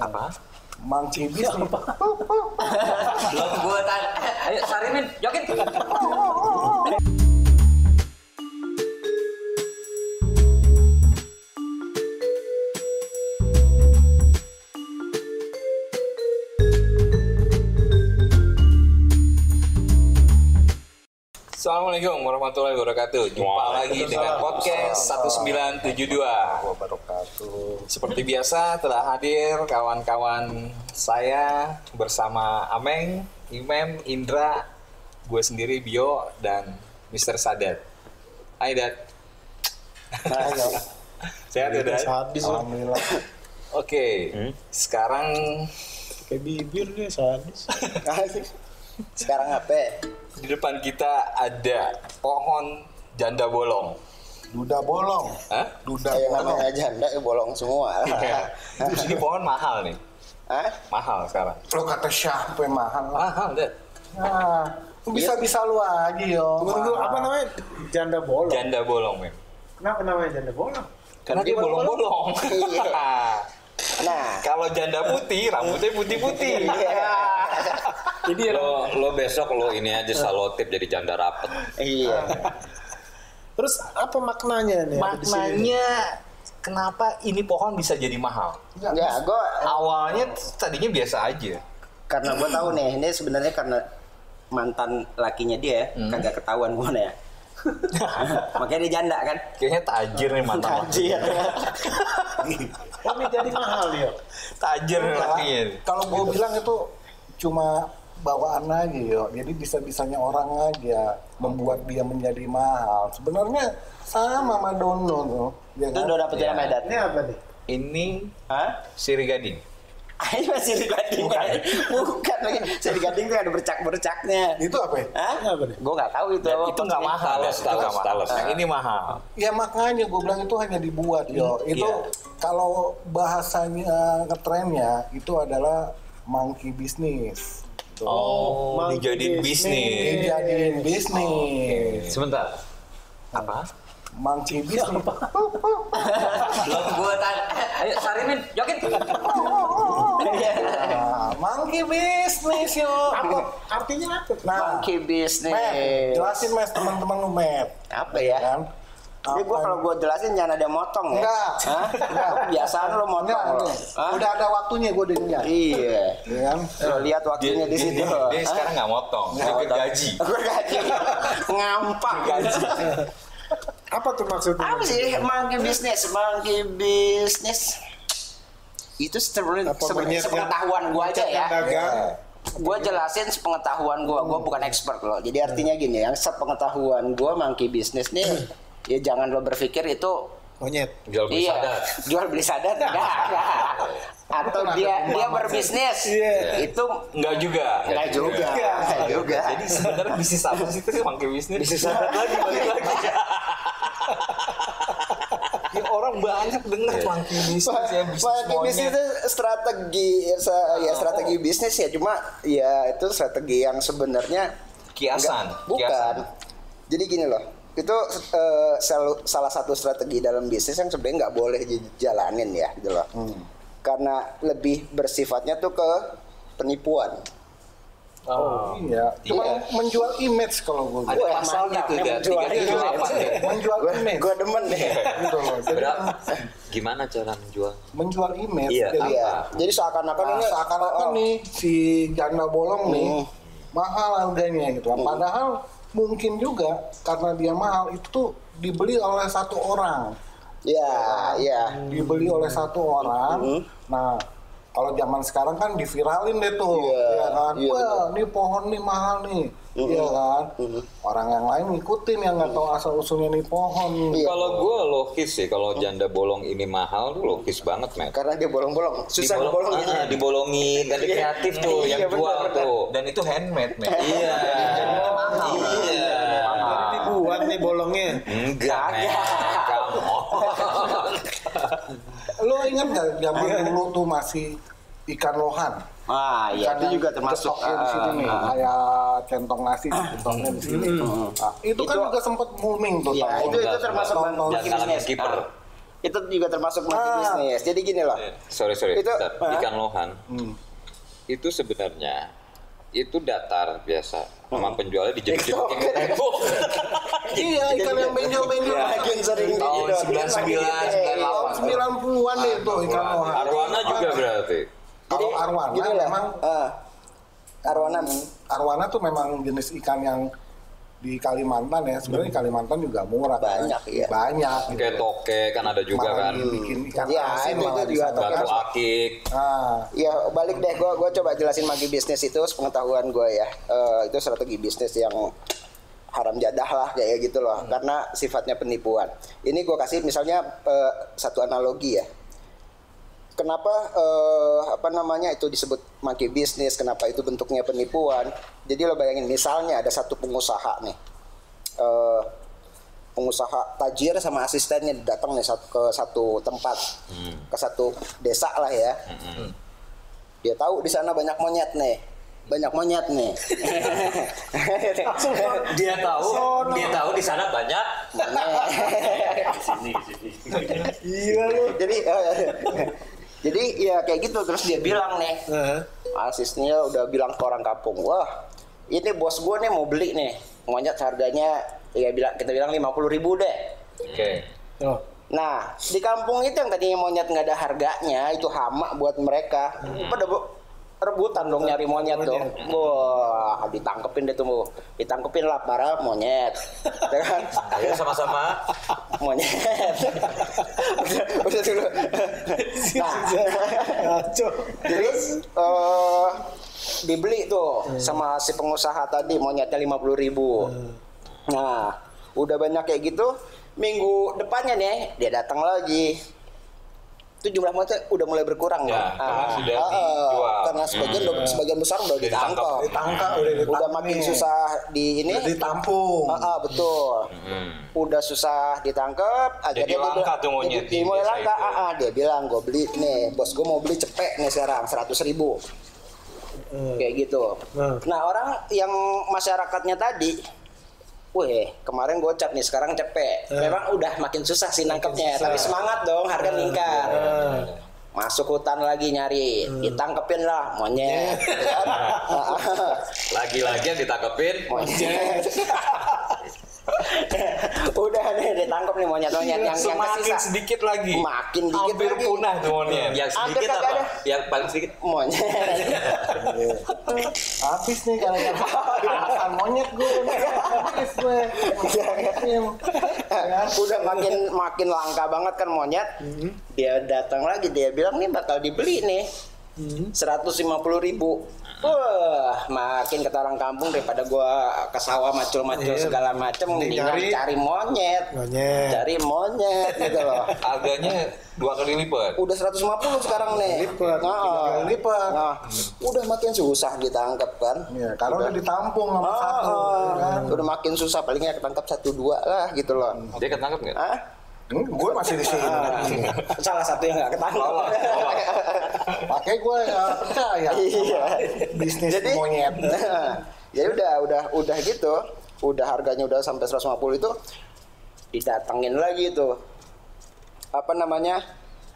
Apa? Iya, Mang Cibis nih. Belum gue tanya. Ayo Sarimin, joget. Assalamualaikum warahmatullahi wabarakatuh. Jumpa lagi dengan podcast 1972. Wabarakatuh. Seperti biasa telah hadir kawan-kawan saya bersama Ameng, Imem, Indra, gue sendiri Bio dan Mr. Sadat. Hai Dad. Nah, ya. Sehat ya Dad? habis loh. Alhamdulillah. Oke. Sekarang Kayak bibir dia sadis. Sekarang HP di depan kita ada pohon janda bolong. Duda bolong. Hah? Duda Kayak bolong. namanya janda ya bolong semua. Terus ini pohon mahal nih. Hah? Mahal sekarang. Lo kata siapa yang mahal Oh. lah. Mahal Dad. Ah, bisa-bisa lu aja yo. Tunggu tunggu apa namanya? Janda bolong. Janda bolong, Mem. Kenapa namanya janda bolong? Karena dia bolong-bolong. Iya. Nah, Kalau janda putih, rambutnya putih-putih. Iya. Jadi lo lo besok lo ini aja salotip jadi janda rapet iya. terus apa maknanya nih? ada di sini? Maknanya kenapa ini pohon bisa jadi mahal? Enggak, gua Awalnya t- tadinya biasa aja. karena gua tahu nih ini sebenarnya karena mantan lakinya dia Hmm. kagak ketahuan gua nih ya. Makanya dia janda kan. Kayaknya tajir nih mantan. laki. Tajir. Oh, ini jadi mahal ya. Tajir nih lakinya. Nah, Kalau gue bilang itu cuma bawaan aja yo. Jadi bisa-bisanya orang aja membuat dia menjadi mahal. Sebenarnya sama sama Dono tuh. Ya Itu kan? udah dapet Iya. jalan medan. Ini apa nih? Ini Hah? siri gading. Ini masih di gading. Bukan. Bukan lagi. Siri gading tuh ada bercak-bercaknya. Itu apa ya? Hah? Ini apa nih? Gua nggak tahu itu. Dan Oh, itu nggak mahal. Talas, itu nggak talas, mahal. talas. Yang ini mahal. Ya makanya gue bilang itu hanya dibuat yo. Itu Iya. kalau bahasanya eh, ngetrennya itu adalah monkey Gitu. bisnis. Oh, iya, monkey dijadiin business. bisnis. Dijadiin bisnis. Sebentar. Oh, Apa? Monkey bisnis. Belum gue tanya. Eh, Ayo Sarimin, joget. Iya. Nah, monkey bisnis yo. Apa artinya apa? Nah, Monkey business. Matt, jelasin Mas teman-teman lu Matt. Apa ya? Kan? Ini gue Apa- kalau gue jelasin jangan ada yang motong ya. Enggak. Hah? Kebiasaan lo Enggak, motong lo. enggak. Hah? udah ada waktunya gue dengar. Iya. Ya kan? Lo lihat waktunya di situ. dia, dia sekarang nggak motong. Dia ikut gaji. Gue gaji. Ngampang gaji. Apa tuh maksudnya? Apa sih monkey bisnis? Monkey bisnis. Itu sebenarnya Apa sebenarnya monyet yang- sepengetahuan gue aja ya. Dagang. Iya. Gue jelasin sepengetahuan gue. Hmm. Gue bukan expert loh. Jadi artinya gini, yang sepengetahuan gue monkey bisnis nih, ya jangan lo berpikir itu Monyet. jual beli iya. sadar Jual beli sadar enggak, enggak. Atau dia dia berbisnis. Iya. Itu Nggak juga. enggak juga. Enggak juga. Jadi sebenarnya bisnis apa sih itu pakai bisnis? Bisnis lagi, lagi, lagi. Iya. Ya, orang banyak dengar Iya. pangki bisnis ya bisnis Monkey bisnis monyet. itu strategi sa- ya strategi bisnis ya cuma ya itu strategi yang sebenarnya Kiasan, enggak- bukan. kiasan. Jadi gini loh, itu eh, sel- salah satu strategi dalam bisnis yang sebenarnya nggak boleh dijalanin ya, gitu loh. Karena lebih bersifatnya tuh ke penipuan. Oh, iya. Cuma Iya. menjual image kalau gue. Ada pasal gitu dan tiga tiga delapan ya. deh. Iya. menjual image. Gue demen deh. Gitu loh. Jadi Iya. Berapa? gimana cara menjual menjual image. Iya, Ah. Oh. Jadi, Iya. Apa? Jadi seakan-akan nah, ini oh, seakan-akan nih si janda bolong nih Hmm. mahal harganya gitu. Padahal mungkin juga karena dia mahal itu tuh dibeli oleh satu orang. Ya, ya. dibeli oleh satu orang. Hmm. Nah, kalau zaman sekarang kan diviralin deh tuh, Iya, ya kan? iya, Hmm. Wah, nih pohon nih mahal nih, ya kan? Orang yang lain ngikutin yang nggak tahu asal usulnya nih pohon. Iya. kalau gue logis sih kalau janda bolong ini mahal tuh logis banget men Karena dia bolong-bolong. Susah Dibolong- dibolongin. ah, dibolongin dan kreatif tuh Iya, yang benar, jual benar. tuh Dan itu handmade nih. iya iya Jadi dibuat nih bolongnya. enggak men kamu Lo ingat nggak zaman dulu tuh masih ikan lohan? Iya. Ah, iya. Itu yang juga termasuk. cetoknya di sini ah, nih, ah. Hmm. kayak centong nasi centongnya di sini. Nah, itu, kan Itu- juga sempat booming tuh. Iya, tahun- itu itu termasuk tahun- tahun monkey jangan business. kiper Ah. itu juga termasuk multibisnis. Jadi gini loh. Sorry sorry. Itu- Hmm. bentar. Ikan lohan itu sebenarnya itu datar biasa Hmm. sama penjualnya dijepit Tiktok. iya ikan yang benjol-benjol Makin sering Tahun digedor. 99, 98. 90-an an itu ikan lohan. Arwana juga berarti. Kalau arwana Gini loh. memang eh, arwana arwana tuh memang jenis ikan yang di Kalimantan ya sebenarnya di Kalimantan juga murah kan. Hmm. Banyak, iya. banyak gitu. Kayak toke kan ada juga Malah kan. dibikin ikan Iya, asin itu- itu malah di juga sana. Batu akik. ah Ya balik deh, gue gua coba jelasin lagi bisnis itu sepengetahuan gue ya. Eh, itu strategi bisnis yang haram jadah lah kayak gitu loh, karena sifatnya penipuan. Ini gue kasih misalnya eh, satu analogi ya. Kenapa eh, apa namanya itu disebut monkey bisnis? Kenapa itu bentuknya penipuan? Jadi lo bayangin misalnya ada satu pengusaha nih, eh, pengusaha tajir sama asistennya datang nih sat- ke satu tempat, ke satu desa lah ya dia tahu di sana banyak monyet nih banyak monyet nih Dia tahu, dia tahu di sana banyak. jadi eh, jadi ya kayak gitu terus dia bilang nih asisnya udah bilang ke orang kampung wah ini bos gue nih mau beli nih monyet harganya ya bilang kita bilang lima puluh ribu deh Oke. Oh. Nah, di kampung itu yang tadinya monyet nggak ada harganya, itu hama buat mereka. Pada bu- rebutan dong nyari monyet dong. Wah, ditangkepin deh tuh, Bu. ditangkepin lah para monyet. Ya kan? Ayo sama-sama. monyet. udah, udah dulu. Nah, Ngaco. jadi eh, dibeli tuh sama si pengusaha tadi monyetnya lima puluh ribu. Hmm. Nah, udah banyak kayak gitu. Minggu depannya nih dia datang lagi. Itu jumlah monyetnya udah mulai berkurang kan? Ya, karena sudah dijual. Hmm. Karena sebagian udah- sebagian besar udah ditangkap. ditangkap udah ditangkap Udah makin nih. susah di ini. Udah ditampung Ah, ah, betul. Udah susah ditangkap, akhirnya dia Hmm. langka bilang- tuh monyet jadi di mulai desa langka. itu. Ah, ah, dia bilang gue beli nih, bos gue mau beli cepet nih sekarang seratus ribu, kayak gitu. Hmm. Nah orang yang masyarakatnya tadi, weh kemarin gocap nih sekarang cepet. Memang udah makin susah sih nangkepnya, Hmm. susah. Hmm. tapi semangat dong harga meningkat. Ah. Masuk hutan lagi nyari, Hmm. ditangkepin lah monyet. Ah, ah. Lagi-lagi yang ditangkepin. monyet udah nih ditangkap nih monyet-monyet yang Iya, yang Semakin kesisa sedikit lagi. makin dikit Hampir lagi. punah tuh monyet. Iya. Yang Hampir sedikit kagak apa? ada. Yang paling sedikit. monyet habis nih kalau makan monyet gue udah habis gue Iya, Iya. udah makin makin langka banget kan monyet dia datang lagi dia bilang nih bakal dibeli nih 150 ribu Wah, makin kata orang kampung daripada gua ke sawah macul-macul segala macem mendingan nyari- cari monyet Monyet. cari monyet gitu loh Harganya dua kali lipat. udah 150 sekarang nih. Lipat, Nah, tiga kali lipat. Nah, udah makin susah ditangkap kan. ya karena udah ditampung sama Ah, satu ah. ya kan udah makin susah palingnya ketangkap satu dua lah gitu loh. Dia ketangkep nggak? Hah? Hmm, gue masih di sini Ah. Salah satu yang nggak ketangkap. oh, pakai gue ya percaya Iya. bisnis monyet Nah, jadi udah udah udah gitu, udah harganya udah sampai 150 itu didatengin lagi tuh. Apa namanya?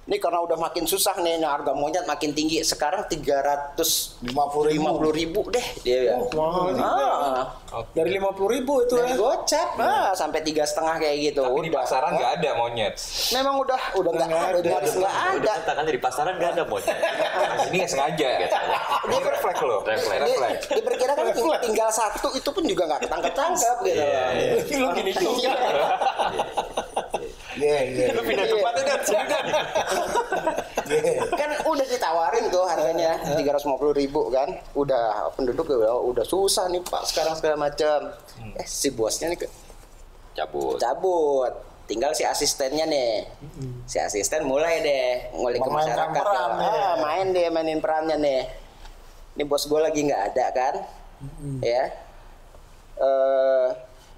Ini karena udah makin susah nih, nah harga monyet makin tinggi. Sekarang 350 lima puluh ribu ribu deh dia. Oh, ya. Mahal juga. Ah. Dari lima puluh ribu itu Dari ya. gocap ah, sampai tiga setengah kayak gitu. Tapi di udah. pasaran nggak ada monyet. Memang udah udah nggak nggak ada, ada. nyaris nggak ada. Udah katakan di pasaran nggak ada monyet. Ini nggak sengaja. Ini refleks loh. Refleks. Di, Refleks. diperkirakan ting- tinggal satu itu pun juga nggak ketangkep tangkap gitu. Lu gini juga. iya iya Lu pindah tempatnya dan iya. kan udah ditawarin tuh harganya Iya, tiga ratus ribu kan udah penduduk udah, udah susah nih pak sekarang segala macam Hmm. eh si bosnya nih ke- Cabut. cabut tinggal si asistennya nih si asisten mulai deh ngulik ke Memainkan masyarakat peran, tuh. ya. Ah, main deh mainin perannya nih ini bos gue lagi nggak ada kan ya eh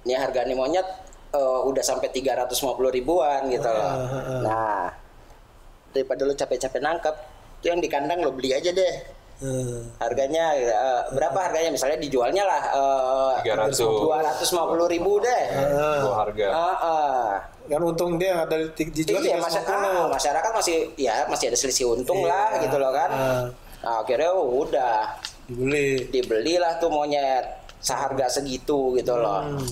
ini harga nih monyet eh, udah sampai 350 ribuan gitu Oh, iya, loh nah daripada lo capek-capek nangkep itu yang di kandang lo beli aja deh Hmm. harganya eh, berapa harganya misalnya dijualnya lah eh, Tiga ratus. dua ratus lima puluh ribu deh Dua harga. Iya. Ah, ah. Kan untung dia ada di- dijual Iya, tiga ratus masa- lima puluh. ah, masyarakat masih ya masih ada selisih untung Iya. lah gitu loh kan Ah. nah, akhirnya udah dibeli. dibelilah tuh monyet seharga segitu gitu loh Hmm.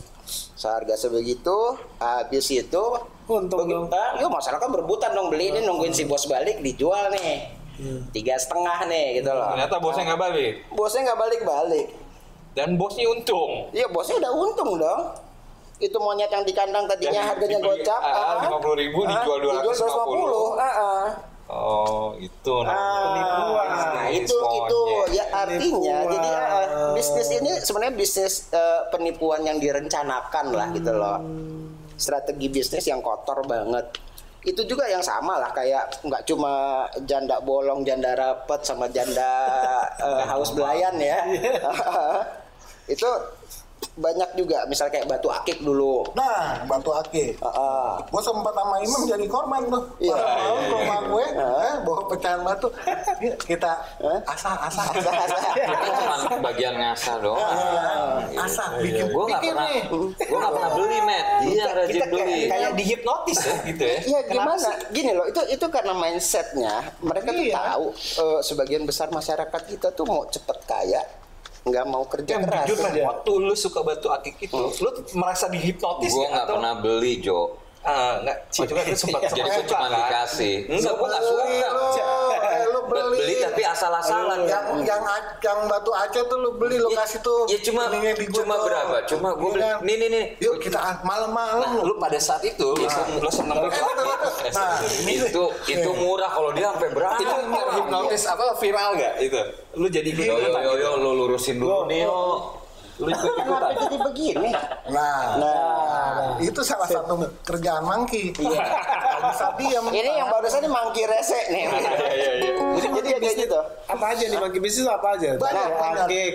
seharga sebegitu habis itu Untung begi- dong. ah, yuk masyarakat berebutan dong beli ini nungguin si bos balik dijual nih Iya. tiga setengah nih gitu loh Ternyata bosnya nggak balik. bosnya nggak balik balik Dan bosnya untung. iya bosnya udah untung dong itu monyet yang di kandang tadinya harganya gocap Ah, Ah, Lima puluh ribu dijual dua ratus lima puluh. Oh itu Ah, penipuan. iya. Nah, itu itu ya artinya Penipuan. jadi eh, bisnis ini sebenarnya bisnis eh, penipuan yang direncanakan lah gitu loh. Strategi bisnis yang kotor banget. Itu juga yang sama lah kayak nggak cuma janda bolong, janda rapet sama janda eh, haus belayan ya. itu banyak juga misal kayak batu akik dulu. Eh, Nah, bantu Aki. Heeh. Gue sempat sama Imam jadi korban tuh. Iya. Malam Iya, malam iya, ke rumah gue, eh, bawa pecahan batu. Yuk, Kita asah, asah, Iya, asah, Itu Kan cuma bagian ngasah doang. asah, bikin Gue Iya, nggak pernah, gue nggak pernah beli, Matt. Iya, rajin kayak- beli. kayak dihipnotis ya gitu ya. Ya gimana? Gini loh, itu itu karena mindsetnya mereka tuh Iya. tahu eh, sebagian besar masyarakat kita tuh mau cepet kaya, nggak mau kerja Yang keras. jujur lah, waktu lu suka batu akik itu, lu merasa dihipnotis Gue nggak pernah beli, Jo. Ah, nggak, cuma lu Iya, sempat kan? Jadi gue sempat- cuma dikasih. Enggak, gue nggak suka. lu, Oh, eh, lu Be- beli. Beli tapi asal-asalan. yang yang a- yang batu aceh tuh lu beli lu Ya- kasih tuh ya cuma- ininya di gua cuma tuh. berapa? Cuma gua beli- Iya kan? nih, nih, nih. yuk kita ah, malam-malam Nah, lu lu pada saat itu lu sen- lu seneng batu akik. Eh, Nah, Itu itu murah kalau dia sampai berapa? Iya. Itu terhipnotis apa viral nggak itu? Lu jadi Iya, Yo yo yo, yo, lu lurusin dulu nih, Iya. yo. Lu ikut Kenapa jadi begini? nah, Nah, itu salah satu kerjaan mangki iya bisa diam Iya. ini yang barusan ini mangki rese nih. jadi ya kayak gitu. Apa aja nih bagi bisnis apa Banyak, aja? Batu banyak. akik.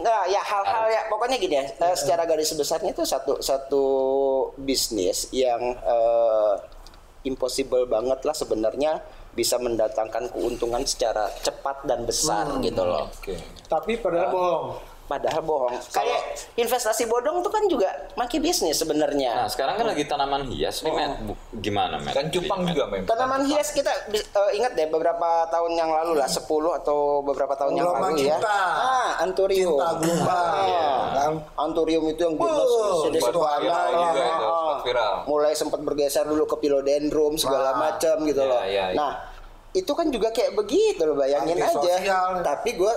Nah, ya hal-hal ya pokoknya gini ya. eh, secara garis besarnya itu satu satu bisnis yang eh, impossible banget lah sebenarnya bisa mendatangkan keuntungan secara cepat dan besar gitu loh. Tapi padahal bohong. Iya, kan? Padahal bohong. Kayak investasi bodong tuh kan juga maki bisnis Nah, sebenarnya. sekarang kan lagi tanaman hias nih, Matt. Bu- Gimana, Matt? Kan cupang juga, Mem. Tanaman hias kita bis- eh, ingat deh beberapa tahun yang lalu lah 10 atau beberapa tahun yang Gelombang lalu ya. cinta. Ah, anturium. Ah, cinta global kan Anturium itu yang jelas Wuh, sedih batu sekali. akik Ah, juga itu, ah. sempat viral. Mulai sempat bergeser dulu ke pilodendrum segala Nah, macam gitu iya, loh. iya, iya. Nah, itu kan juga kayak begitu loh bayangin Antisosial. aja. Tapi gue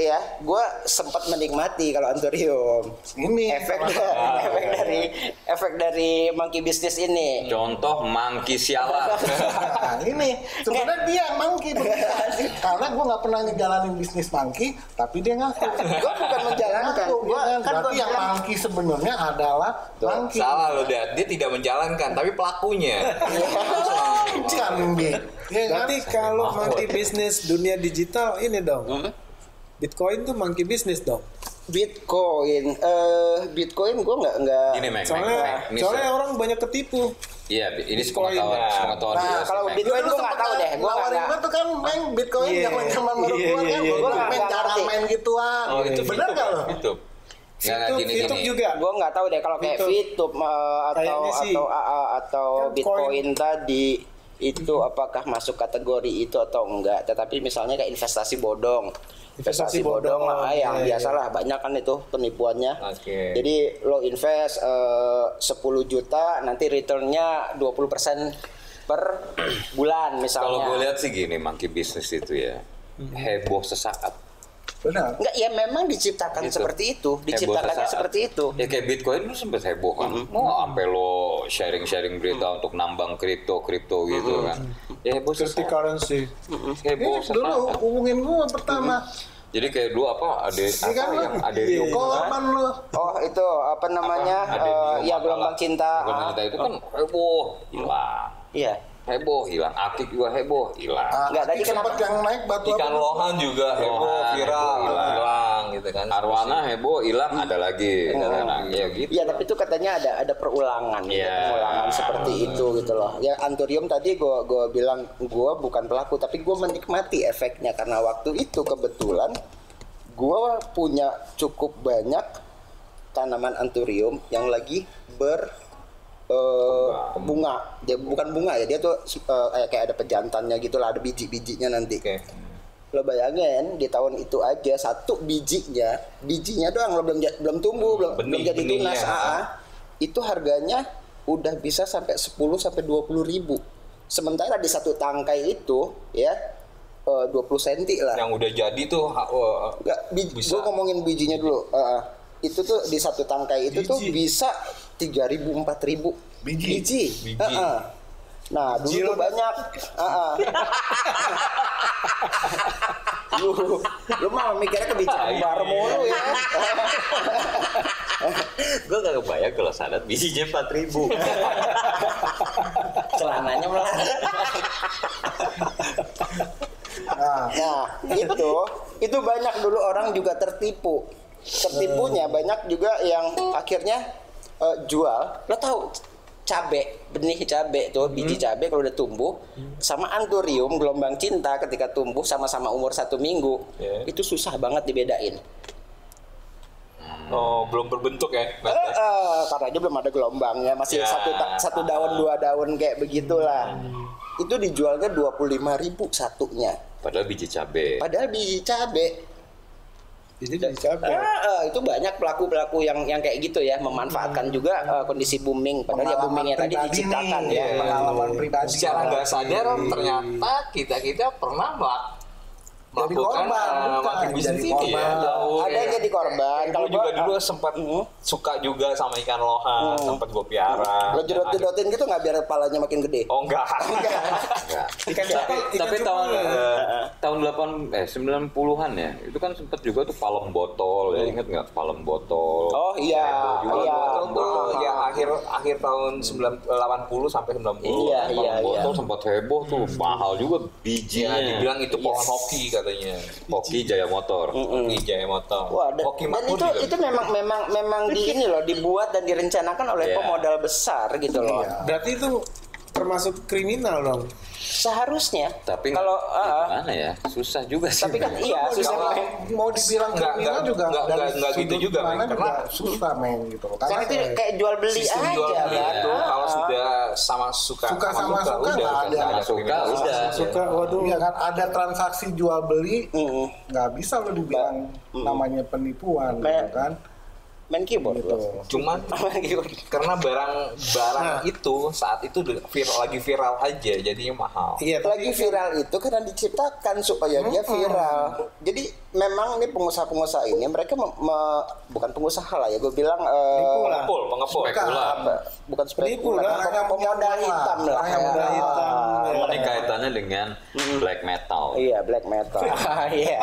ya gue sempat menikmati kalau anturium ini efek Iya. efek dari efek dari monkey business ini Contoh mangki sialan. Nah, ini sebenarnya Eh. dia mangki beneran. karena gue nggak pernah ngejalanin bisnis mangki tapi dia ngaku gue bukan menjalankan Ngaku, gue ya kan? kan gue berarti yang bilang mangki sebenarnya adalah mangki Salah lo, Dat. Dia tidak menjalankan, kan, tapi pelakunya. bukan Bi. ya kan? Berarti kalau monkey bisnis dunia digital ini dong. Bitcoin tuh monkey bisnis dong. bitcoin eh bitcoin gue nggak nggak Ini, Mac, Mac, Mac. Soalnya, Ini soalnya se- orang banyak ketipu. Iya, ini Bitcoin, sepengetahuan, nah. sepengetahuan Nah, gua sih, kalau Mac. Bitcoin Dulu gua nggak sempet tahu deh, gua nawarin nggak- gua tuh kan main Bitcoin Iya. yang main zaman baru keluar Iya, iya, kan. iya, Gua iya. main Nggak jangan ngerti. gitu. main gituan. Oh, itu Bener Fitup, gak Matt, lo? Fitup. Nggak, nggak, Fitup- gini, Fitup gini. juga. gue nggak tahu deh kalau kayak Fitup. Fitup eh, atau Kayaknya sih. atau AA atau Kan Bitcoin tadi itu apakah masuk kategori itu atau enggak tetapi misalnya kayak investasi bodong Investasi bodong, lah ah, iya, yang iya. biasalah banyak kan itu penipuannya Oke. jadi lo invest eh, 10 juta nanti returnnya 20% per bulan misalnya Kalau gue lihat sih gini, monkey bisnis itu ya heboh sesaat. Bener. Enggak, ya memang diciptakan Gitu. seperti itu Heboh diciptakannya sesaat. seperti itu Ya kayak Bitcoin lu sempet heboh kan. Mau sampai lo sharing-sharing berita untuk nambang kripto-kripto gitu kan. Ya heboh sesaat. Cryptocurrency. Heboh Ini Iya, dulu sesaat. hubungin gua pertama. Jadi kayak dulu apa ada Iya. Ini kan apa lo yang ada di korban lo. oh itu apa namanya Ada di eh, ya Matalah. gelombang cinta Gelombang ah, cinta itu kan heboh, hilang. iya Heboh, hilang. Akik juga heboh, hilang. Ah, Enggak, tadi tadi sempat kenapa- yang naik batu Ikan apa? lohan juga heboh, Lohan, viral, heboh, hilang. hilang gitu dengan Arwana heboh hilang ada lagi. Ada lagi. Ya gitu. Iya, tapi itu katanya ada ada perulangan, ada Iya. perulangan seperti itu gitu loh. Ya Anturium tadi gua gua bilang gua bukan pelaku, tapi gua menikmati efeknya karena waktu itu kebetulan gua punya cukup banyak tanaman Anturium yang lagi ber eh, bunga. Dia bukan bunga ya, dia tuh eh, kayak ada pejantannya gitu lah, ada biji-bijinya nanti. Oke. Lo bayangin di tahun itu aja satu bijinya, bijinya doang lo belum ja- belum tumbuh, belum Benih, belum jadi benihnya. tunas. ah, ah. Itu harganya udah bisa sampai 10 sampai 20 ribu. Sementara di satu tangkai itu ya eh, 20 cm lah. yang udah jadi tuh ha- oh, Enggak, bij- Bisa. gua ngomongin bijinya dulu. Ah, ah. itu tuh di satu tangkai itu tuh bisa 3000 4000 Biji. Biji. Biji. Ah, ah. Nah, dulu tuh banyak. Ah, ah. lu, lu mah mikirnya Iya. kebicaraan Tai. bar mulu ya. Gue gak kebayang kalau sadat bijinya 4000 ribu. Celananya malah. Nah, Nah, itu itu banyak dulu orang juga tertipu. Tertipunya banyak juga yang akhirnya eh, jual. Lo tahu cabe, benih cabe tuh, biji cabe kalau udah tumbuh sama anturium gelombang cinta ketika tumbuh sama-sama umur satu minggu. Iya. Itu susah banget dibedain. oh, belum berbentuk ya. Eh, eh, karena dia belum ada gelombangnya, masih Ya. satu ta- satu daun dua daun kayak begitulah. Itu dijualnya 25.000 satunya. Padahal biji cabe. Padahal biji cabe Jadi jadi capek. Ah, ah, itu banyak pelaku-pelaku yang yang kayak gitu ya memanfaatkan juga eh, kondisi booming padahal ya boomingnya tadi diciptakan nih, Iya. ya. pengalaman pribadi. Secara nggak orang. sadar ternyata kita kita pernah melak Jadi melakukan korban, eh, bukan. makin bisnis Jadi ini ya. korban. Tahu, Ada ya. yang jadi korban. Gue Kalau juga gua- Ah, dulu sempat suka juga sama ikan lohan, sempat gue piara. lo jedot-jedotin gitu nggak biar kepalanya makin gede. Oh enggak. Ikan Tapi, cupang- ikan tapi cupang tahun lah. eh, tahun 8 eh 90-an ya. Itu kan sempet juga tuh palem botol. Ya ingat nggak palem botol? Oh iya, Kalau iya. botol tuh Ah, ya akhir akhir tahun 90 80 sampai 90. Iya, Palem iya, iya. botol sempat heboh tuh. Mahal juga Ya, bijinya. dibilang itu pohon hoki katanya. Hoki Jaya Motor. Hmm. Hoki jaya motor. Wah, dan, hoki dan makmur itu juga. itu memang memang memang di ini loh dibuat dan direncanakan oleh Iya. pemodal besar gitu loh. Iya. Berarti itu termasuk kriminal dong. Seharusnya Tapi kalau gitu. ah, nggak- ah. gimana ya? Susah juga sih. tapi kan iya Mau susah dibilang- banget. mau dibilang Nggak, kriminal nggak, juga nggak, dari nggak, nggak gitu sudut juga, men. mana Karena- juga susah men gitu loh. Karena itu kayak jual beli Sistem aja jual beli kan. itu Ah, kalau ah. sudah sama suka Suka sama suka udah nggak kan ada. nggak Sama suka, kriminal. udah. Sama Suka waduh. Iya kan ada transaksi jual beli Mm-mm. nggak bisa lo dibilang namanya penipuan gitu Kayak- kan Main keyboard gitu. loh. cuman Main keyboard. karena barang-barang Nah. itu saat itu udah viral lagi viral aja jadinya mahal Iya, tapi lagi viral itu karena diciptakan supaya dia viral. Jadi memang nih pengusaha-pengusaha ini mereka mem- me- bukan pengusaha lah ya, gue bilang eh, Penipu lah. pengepul pengepul Spekulan. apa? bukan Penipu spekulan, lah, orang apa, yang pemodal punya uang hitam lah, lah. orang yang punya Ah, hitam, ya. Ini kaitannya dengan Hmm. black metal. Iya, black metal. Ah, Iya.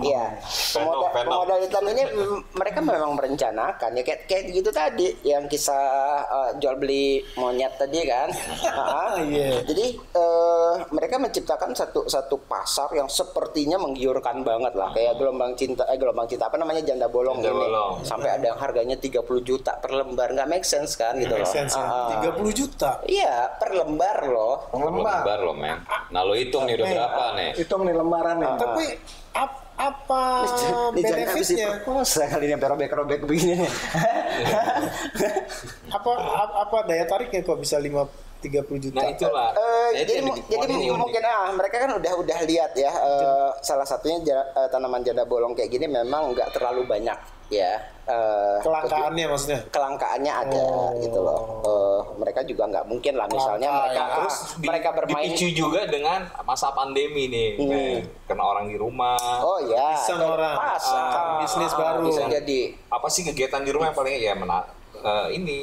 Iya. Pemodal, Venom. pemodal hitam ini mm, mereka memang merencanakan ya kayak kayak gitu tadi yang kisah eh, jual beli monyet tadi kan. Ah, Iya. Jadi eh, mereka menciptakan satu satu pasar yang sepertinya menggiurkan banget lah kayak gelombang cinta eh gelombang cinta apa namanya janda bolong Janda ini. bolong. Sampai ada yang harganya 30 juta per lembar nggak make sense kan gitu make loh. sense Ah, ah. ya. 30 juta. Iya, per lembar loh. lembar Lembar loh men. Nah lo hitung nih udah berapa nih? hitung nih lembaran nih Tapi ap- apa Ah. Ini jangan habis benefitnya? diperkosa kali ini sampai robek-robek begini. Apa ap- apa daya tariknya kok bisa 5 30 juta? nah itulah Eh, Nah, itu jadi yang mu- dibikin jadi ini unik. mungkin ah mereka kan udah udah lihat ya eh, salah satunya ja- eh, tanaman janda bolong kayak gini memang nggak terlalu banyak ya. Eh, Kelangkaannya maksudnya. kelangkaannya ada Oh. gitu loh. Eh, mereka juga nggak mungkin lah misalnya mereka Nah, terus terus di- mereka bermain dipicu juga dengan masa pandemi nih Kayak kena orang di rumah Oh ya, Iseng ke orang. pasar, Ah, bisnis ah, baru. bisa jadi. apa sih kegiatan di rumah yang paling ya mena- eh, ini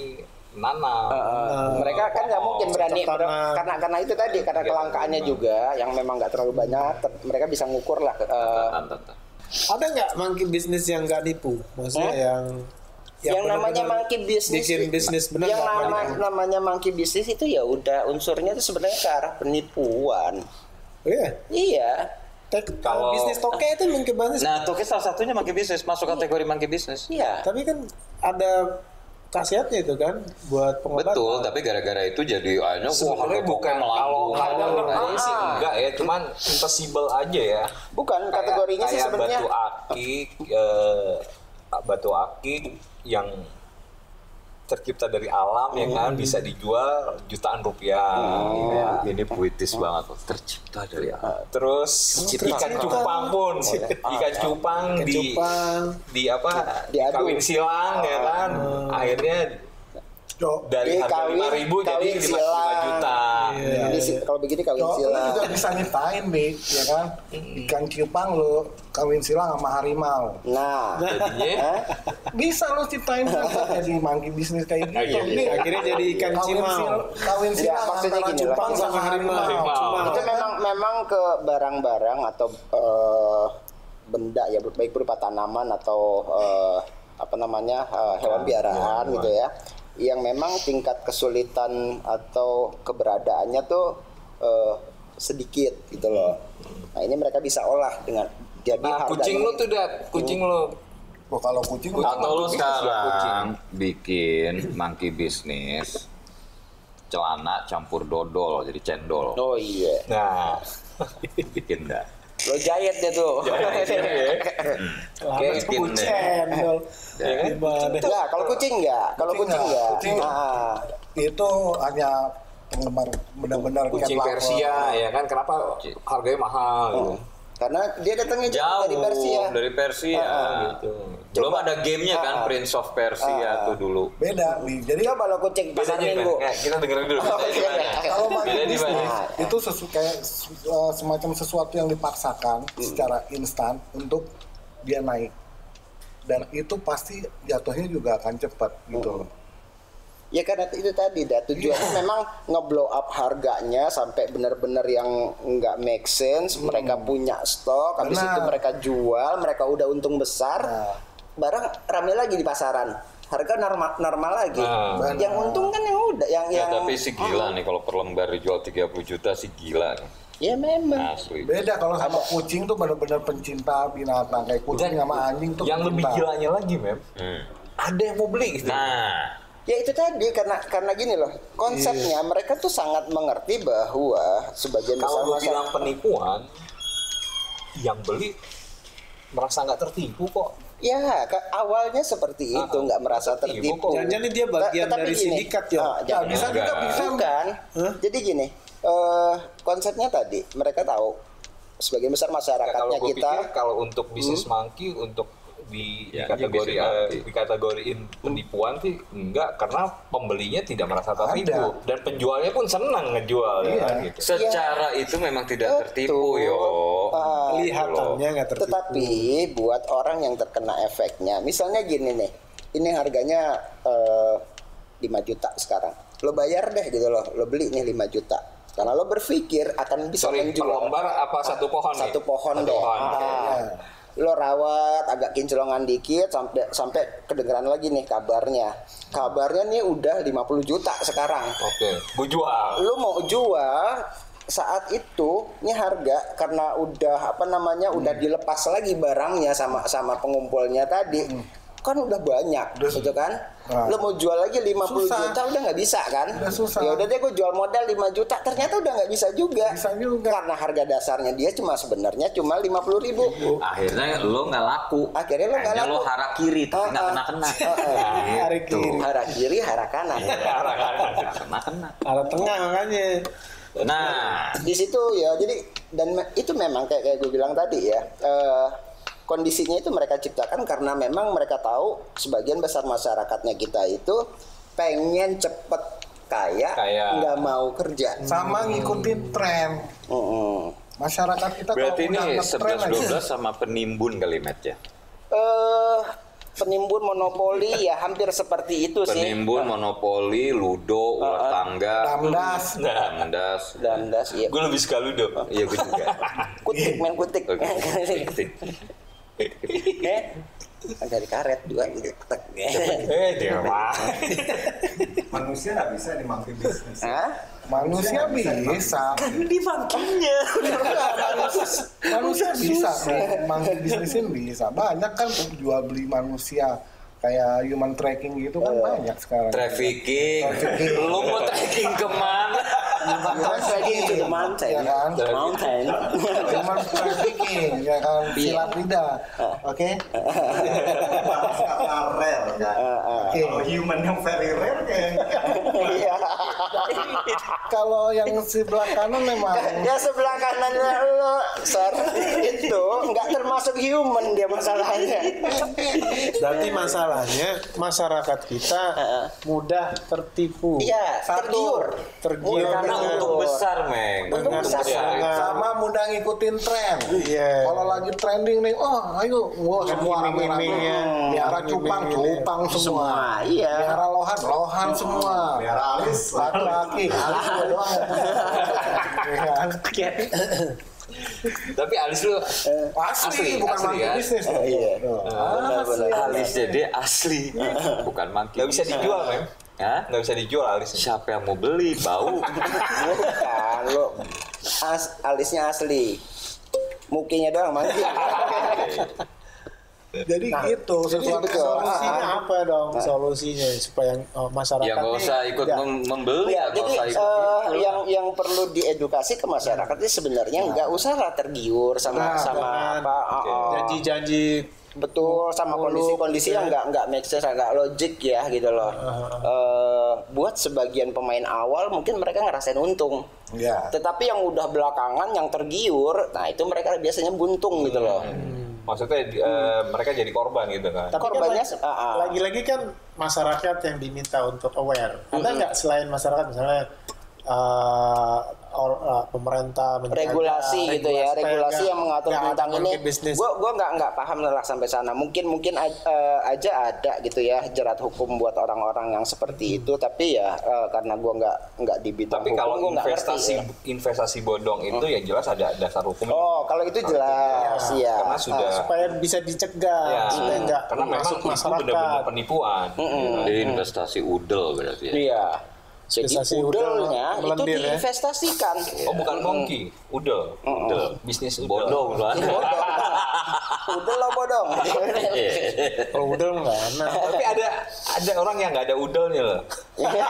nanam Ah. Eh, mereka kan nggak mungkin berani ber- cocok tanam. karena karena itu tadi karena Iya. kelangkaannya juga yang memang nggak terlalu banyak ter- mereka bisa ngukur lah eh, Tantan, tantan. Ada nggak monkey bisnis yang nggak nipu? Maksudnya yang yang, namanya Ya, benar-benar monkey business bikin bisnis benar yang nggak nama- nipu? namanya monkey business itu ya udah unsurnya itu sebenarnya ke arah penipuan Oh, Iya. iya Tek, Kalau- kalau bisnis toke itu monkey business. Nah, Toki salah satunya monkey business, masuk kategori monkey business. Iya. Tapi kan ada khasiatnya itu kan buat pengobatan. Betul, tapi gara-gara itu jadi akhirnya wah harga Sebenarnya toke bukan kalau melambung. ada namanya sih enggak ya, cuman impossible aja ya. Bukan Kayak- kategorinya sih kayak sebenarnya. Iya, batu akik, eh, batu akik yang tercipta dari alam ya Hmm. kan bisa dijual jutaan rupiah. ya. Ah, Ini puitis banget, loh. tercipta dari alam. Terus Tercipta. ikan cupang Oh, pun, ya. Ah, ikan cupang Ikan di cupang. di apa? Diadu. Kawin silang ya kan, Ah. akhirnya Cok, dari harga Dikawin- lima ribu jadi kawin lima silang. juta. Ini sih, iya, kalau begini kawin Cok, lu silang. juga bisa nyiptain, Bi, ya kan? Ikan cupang lu kawin silang sama harimau. Nah, Iya. Jadinya Bisa lu ciptain juga jadi monkey bisnis kayak gitu. iya, iya. Bi. Akhirnya jadi ikan Kawin cimau. sil- Kawin Ya, silang maksudnya antara gini lah. cupang sama harimau. Cuma- itu memang memang ke barang-barang atau eh, benda ya baik berupa tanaman atau eh, apa namanya eh, hewan piaraan gitu ya yang memang tingkat kesulitan atau keberadaannya tuh eh, sedikit gitu loh nah ini mereka bisa olah dengan jadi Nah, kucing lu tuh dat, kucing lu Loh, kalau kucing lu Atau lu Kucing. sekarang bikin monkey business celana campur dodol jadi cendol oh iya Nah, bikin dah lo jahit iya. deh tuh Oke, bikin deh. cendol. Ya kan? Gimana? Nah, kalau kucing enggak, kalau Kucing kucing nggak, enggak. kucing. Nah, itu hanya penggemar benar-benar cat kucing lapar. Persia ya kan kenapa harganya mahal Oh, gitu. karena dia datangnya jauh jauh dari Persia. Ah, dari Persia. gitu. belum ada gamenya kan Prince Ah, of Persia tuh dulu Beda, Bi. Jadi Coba lo kan kucing Bedanya pasar gimana? minggu. Kayak kita dengerin dulu. Oh, bedanya iya. gimana? kalau Bedanya makin di mana? bisnis Nah, Nah, itu sesu, kayak se- uh, semacam sesuatu yang dipaksakan secara instan untuk dia naik dan itu pasti jatuhnya juga akan cepat gitu Oh. loh. Ya karena itu tadi dah tujuannya Iya. memang ngeblow up harganya sampai benar-benar yang nggak make sense. Hmm. Mereka punya stok, habis Benar. itu mereka jual, mereka udah untung besar, Nah. barang rame lagi di pasaran, harga normal normal lagi. Nah. Yang untung kan yang udah, yang Ya, yang tapi si gila nih kalau per lembar dijual 30 juta si gila nih. ya Nah. memang. asli Beda kalau sama kucing tuh benar-benar pencinta binatang kayak kucing sama anjing tuh Yang lebih pencinta. gilanya lagi, Mem. Hmm. Ada yang mau beli gitu. nah Ya itu tadi karena karena gini loh konsepnya Iya. mereka tuh sangat mengerti bahwa sebagian besar Kalau lu masyarakat- bilang penipuan, yang beli merasa nggak tertipu kok. Ya, ke- awalnya seperti itu, nggak merasa tertipu tertipu. kok. Jangan-jangan dia Ta- bagian tetapi dari gini, sindikat ya. ah, Ya, jangan. bisa juga Enggak. bisa Bukan. Jadi gini, eh, konsepnya tadi mereka tahu sebagian Ya, besar kalau masyarakatnya gue kita Hmm. pikir kalau untuk bisnis monkey untuk di, di Ya, kategori ini bisnis eh, monkey. dikategoriin penipuan sih enggak karena pembelinya tidak merasa tertipu dan penjualnya pun senang ngejual ya Iya. kan, gitu. secara itu memang Betul. tidak tertipu yo Ah, Gitu Iya, Kelihatannya nggak tertipu. tetapi buat orang yang terkena efeknya, misalnya gini nih, ini harganya eh, 5 juta sekarang, lo bayar deh gitu loh, lo beli nih 5 juta, karena lo berpikir akan bisa Sorry, per menjual. lembar apa satu pohon nih? satu pohon Satu deh. pohon, Ah. oke. Lo rawat agak kinclongan dikit sampai sampai kedengeran lagi nih kabarnya. Kabarnya nih udah 50 juta sekarang. Oke, gue jual. Lo mau jual saat itu nih harga karena udah apa namanya udah Hmm. dilepas lagi barangnya sama sama pengumpulnya tadi. Hmm. Kan udah banyak gitu kan. Nah. Lo mau jual lagi 50 Susah. juta udah nggak bisa kan? Udah susah. Ya udah deh gue jual modal 5 juta ternyata udah nggak bisa juga. Bisa juga. Karena harga dasarnya dia cuma sebenarnya cuma 50 ribu. akhirnya lo nggak laku Akhirnya lo nggak Akhirnya laku. lo hara kiri tapi Ah, nggak Nah, gitu. ah. kena kena Hari kiri, Hara kiri, hara kanan. Iya. nggak kena kena arah tengah makanya. nah Di situ ya, jadi dan me- itu memang kayak kayak gue bilang tadi ya. eh, kondisinya itu mereka ciptakan karena memang mereka tahu sebagian besar masyarakatnya kita itu pengen cepet kaya, Kaya. nggak mau kerja. sama ngikutin tren Mm-mm. masyarakat kita berarti kalau ini udah ngetren 11 aja 12 sama penimbun kalimat ya Eh, penimbun monopoli ya hampir seperti itu sih. penimbun monopoli ludo ular tangga Ramdas. ramdas Dandas, iya. Gue lebih suka Ludo. iya gue juga Kutik, main kutik. Oke. Eh, dari karet juga gitu. Tek. eh, dia mah. manusia nggak bisa di monkey business Hah? Manusia bisa. Di monkey-nya. Manusia bisa. Manusia bisnisin bisa. Banyak kan jual beli manusia kayak human tracking gitu kan Iya. banyak sekarang. Trafficking. Lu mau tracking kemana? Human Tracking to the ya. mountain. Iya kan? Mountain. Human trafficking ya kan Iya. silat lidah. Ah. Oke. bahas kata rare kan. Oke. Kalau human yang very rare kayak Iya. Kalau yang sebelah kanan memang Ya sebelah kanannya lo, sir, itu nggak termasuk human dia masalahnya. Berarti masalahnya masyarakat kita mudah tertipu. Iya, tergiur. Tergiur Mudah Karena dengan untung besar, Meng. Untung besar. besar. sama mudah ngikutin tren. Iya. Kalau lagi trending nih, oh ayo, wah semua rame-rame. iming-imingnya. Miara cupang, Iming-imingnya. cupang semua. Semua, iya. Miara lohan, lohan semua. biar alis Laki-laki, alis gua doang. Iya kan? Tapi alis lu Asli, Asli, bukan asli, monkey kan? bisnis. Ah. Oh, iya. Asli. alis jadi asli, bukan monkey. Nggak bisa dijual, Meng. Hah? Nggak bisa dijual alisnya. Siapa yang mau beli? Bau. Bukan lo as, alisnya asli. Mukinya doang mati. Jadi gitu, sesuatu Nah. betul. Nah, solusinya apa dong solusinya supaya oh, masyarakat Ya nggak nih- usah ikut Ya. mem- ya, membeli ya, nggak jadi usah ikut. eh, yang yang perlu diedukasi ke masyarakat itu sebenarnya nggak usah lah tergiur Nah, sama sama jangan. apa oh, oh. janji-janji betul sama Muluk, kondisi-kondisi gitu yang ya. nggak nggak make sense nggak logik ya gitu loh. Eh, buat sebagian pemain awal mungkin mereka ngerasain untung. Ya. Tetapi yang udah belakangan yang tergiur, nah itu mereka biasanya buntung gitu loh. Hmm. Maksudnya eh, mereka jadi korban gitu kan. tapi kan Korbannya, lagi- ah, ah. lagi-lagi kan masyarakat yang diminta untuk aware ada nggak selain masyarakat misalnya eh, or- eh, pemerintah menjaga, regulasi gitu ya supaya regulasi nggak- yang mengatur nggak ada tentang ini monkey business. gue gua nggak nggak paham lah sampai sana mungkin mungkin aj- eh, aja ada gitu ya jerat hukum buat orang-orang yang seperti itu tapi ya eh, karena gua nggak nggak di bidang Tapi hukum, kalau gua nggak ngerti, investasi ya. investasi bodong itu ya jelas ada dasar hukumnya. oh kalau itu jelas ya Karena sudah supaya bisa dicegah ya, supaya nggak Iya. karena memang masuk itu masyarakat benar-benar penipuan. Jadi investasi udel berarti. ya. iya jadi Investasi udah udelnya itu melendir ya. diinvestasikan Hmm. Oh bukan monkey, udel, udel, bisnis udel. Bodong lah. Iya, udel lo bodong kalau udah nggak enak Tapi ada ada orang yang nggak ada udelnya loh. Iya,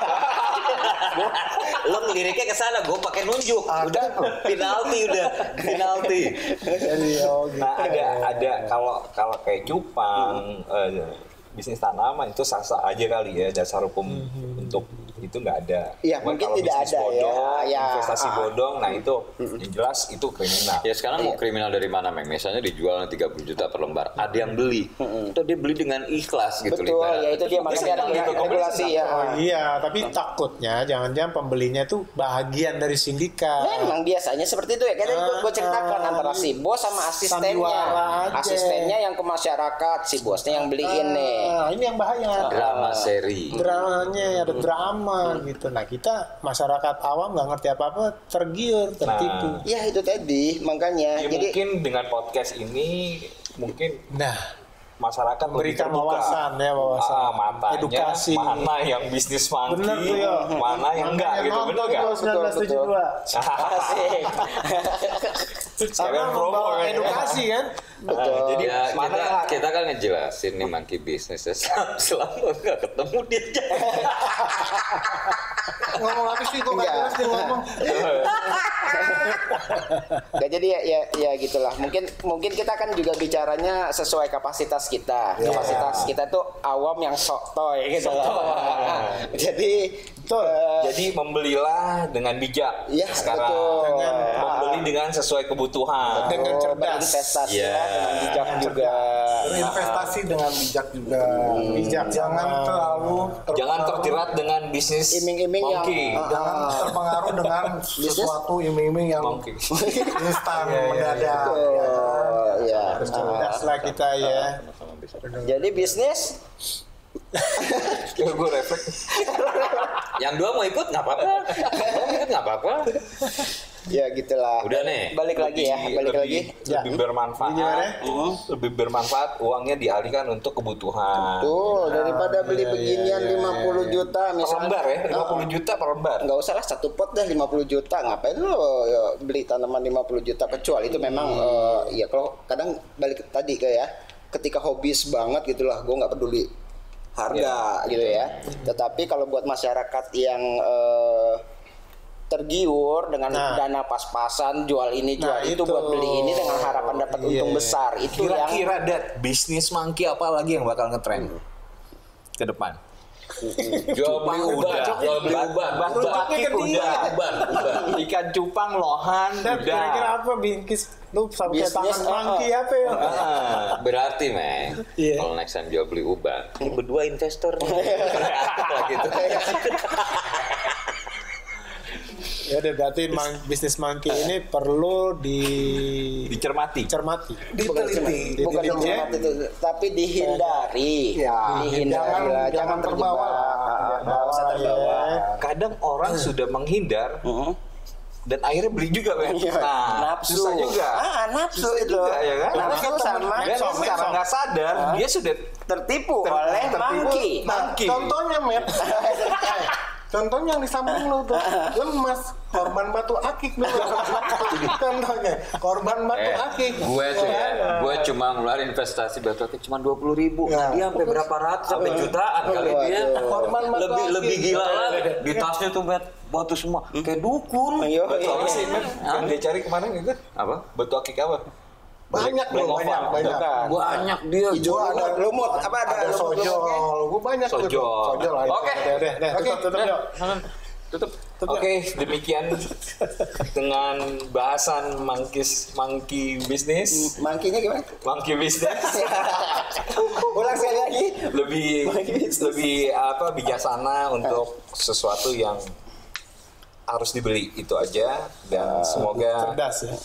Lo liriknya ke sana, gue pakai nunjuk. Udah penalti udah, penalti. jadi oh gitu Iya, Nah ada ada kalau kalau kayak cupang eh, bisnis tanaman itu sah-sah aja kali ya dasar hukum untuk itu nggak ada. Iya, Cuman mungkin kalau tidak bisnis ada ya, bodong, ya, Investasi ah. bodong, nah itu yang jelas itu kriminal. Ya sekarang Iya. mau kriminal dari mana, Meng? Misalnya dijual 30 juta per lembar, ada yang beli. Itu dia beli dengan ikhlas gitu. betul ibarat. ya itu dia makanya ada gitu, komunis regulasi ya Iya, tapi takutnya jangan-jangan pembelinya itu bagian dari sindikat. Memang biasanya seperti itu ya. Kan Ah, gue ceritakan iya. ah. antara si bos sama asistennya. Sandiwara aja. Asistennya yang ke masyarakat, si bosnya yang beliin nih. Nah, ini yang bahaya. Ah. Drama seri. Dramanya ada drama gitu. Nah, kita masyarakat awam nggak ngerti apa-apa, Nah. tergiur, tertipu. Ya itu tadi makanya. Ya, Jadi mungkin dengan podcast ini mungkin Nah, masyarakat lebih Berikan terbuka. wawasan ya, wawasan. Ah, matanya, Edukasi. mana yang bisnis monkey, Bener tuh, Yo. mana yang enggak gitu, bener enggak? Betul, betul. 1972. asik. Karena Sekalian promo, membawa kan? edukasi kan. Betul. Jadi ya, mana kita, yang- kita kan ngejelasin nih monkey bisnis selama nggak ketemu dia jangan. Ngomong apa sih kok nggak Iya. jelas dia ngomong. Nah, jadi ya, ya ya gitulah. Mungkin mungkin kita kan juga bicaranya sesuai kapasitas kita. Kapasitas kita tuh awam yang sok toy gitu loh. jadi Betul. eh, Jadi membelilah dengan bijak ya sekarang. betul. Ah. Ah, Membeli dengan sesuai kebutuhan. Dengan cerdas. berinvestasi Oh, Iya. lah, dengan bijak juga. Berinvestasi dengan bijak juga. Bijak. Jangan sama- terlalu terpengaruh- Jangan terjerat dengan bisnis Iming-iming yang- monkey. Jangan terpengaruh dengan sesuatu iming-iming yang Monkey. instan mendadak. Oh, ya. Harus cerdas lah kita ya. Ah, Jadi bisnis Ah. Gue refleks. Yang dua mau ikut nggak apa-apa. Yang dua mau ikut nggak apa-apa. ya gitulah Udah nih. balik lagi ya Lebih- balik lagi lebih- Lebih bermanfaat. Gimana? Lebih bermanfaat uangnya dialihkan untuk kebutuhan. tuh daripada beli beginian 50 juta Per misalnya lembar ya, 50 juta per lembar. nggak usah lah satu pot dah 50 juta ngapain lo ya, beli tanaman 50 juta kecuali itu memang Hmm. eh, ya kalau kadang balik tadi kayak ya ketika hobis banget gitulah gue nggak peduli Iya. harga gitu ya tetapi kalau buat masyarakat yang eh, tergiur dengan Nah. dana pas-pasan jual ini jual Nah, itu, itu. buat beli ini dengan harapan dapat Iya. untung besar itu yang Kira-kira dat bisnis monkey apa lagi yang bakal ngetrend ke depan? Jual beli Cupang uban, udah, jual beli uban, bak- uban, bakit uban, udah. uban, uban. Ikan cupang, lohan, Dan kira-kira udah. apa bingkis lu sampai Bisnis, tangan ah, ah. monkey apa ya? Ah. Berarti, men, Iya. kalau next time jual beli uban, ini berdua investor nih. gitu. Ya udah berarti man- bisnis monkey ini perlu dicermati. Dicermati. bukan cuma- diteliti. bukan Diteliti. cuma itu tapi dihindari Ya, dihindari jangan- lah. jangan terbawa. Iya, terjebak. nggak usah terbawa Kadang orang sudah menghindar dan akhirnya beli juga, men. Iya. Nah, nafsu susah juga. Ah, nafsu Susah itu. juga, ya kan? Nafsu sama Iya. Dan Medsos, secara medsos. nggak sadar, dia sudah tertipu Ter- oleh tertipu. mangki. Monkey. Nah, Contohnya, Met. Eh, Contohnya yang disambung lu tuh, lemas korban batu akik dulu. Contohnya korban batu Eh, akik. gue tuh ya, Iya. gue cuma ngeluarin investasi batu akik cuma dua puluh ribu, Ya. dia Iya, sampai berapa ratus, sampai jutaan kali Waduh. dia. Korban batu Lebih akik. lebih gila Iya. lagi. Di tasnya tuh met batu semua, kayak dukun. Iya, Batu iya. apa sih met? Hah? yang dia cari kemarin itu Apa? batu akik apa? Banyak Black lu, Oval, banyak, banyak. bukan. Banyak dia. Gua ada lumut apa ada, ada sojol, gue banyak tuh. Sojol. Sojol ada. Oke. Ya udah, udah, tutup, tutup, yuk. Tutup. Oke, demikian dengan bahasan mangkis mangki bisnis, Mangkinya gimana? mangki bisnis Ulang sekali lagi. lebih lebih apa bijaksana untuk sesuatu yang harus dibeli itu aja dan semoga Cerdas ya.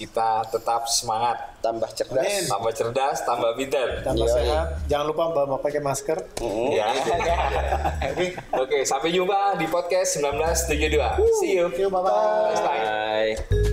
kita tetap semangat, Tambah cerdas. tambah cerdas, tambah pintar. Tambah Yoi. sehat. Jangan lupa bawa pakai masker. Ya. Oke, sampai jumpa di podcast 1972. See you. Yuk, bye-bye. Bye. Bye.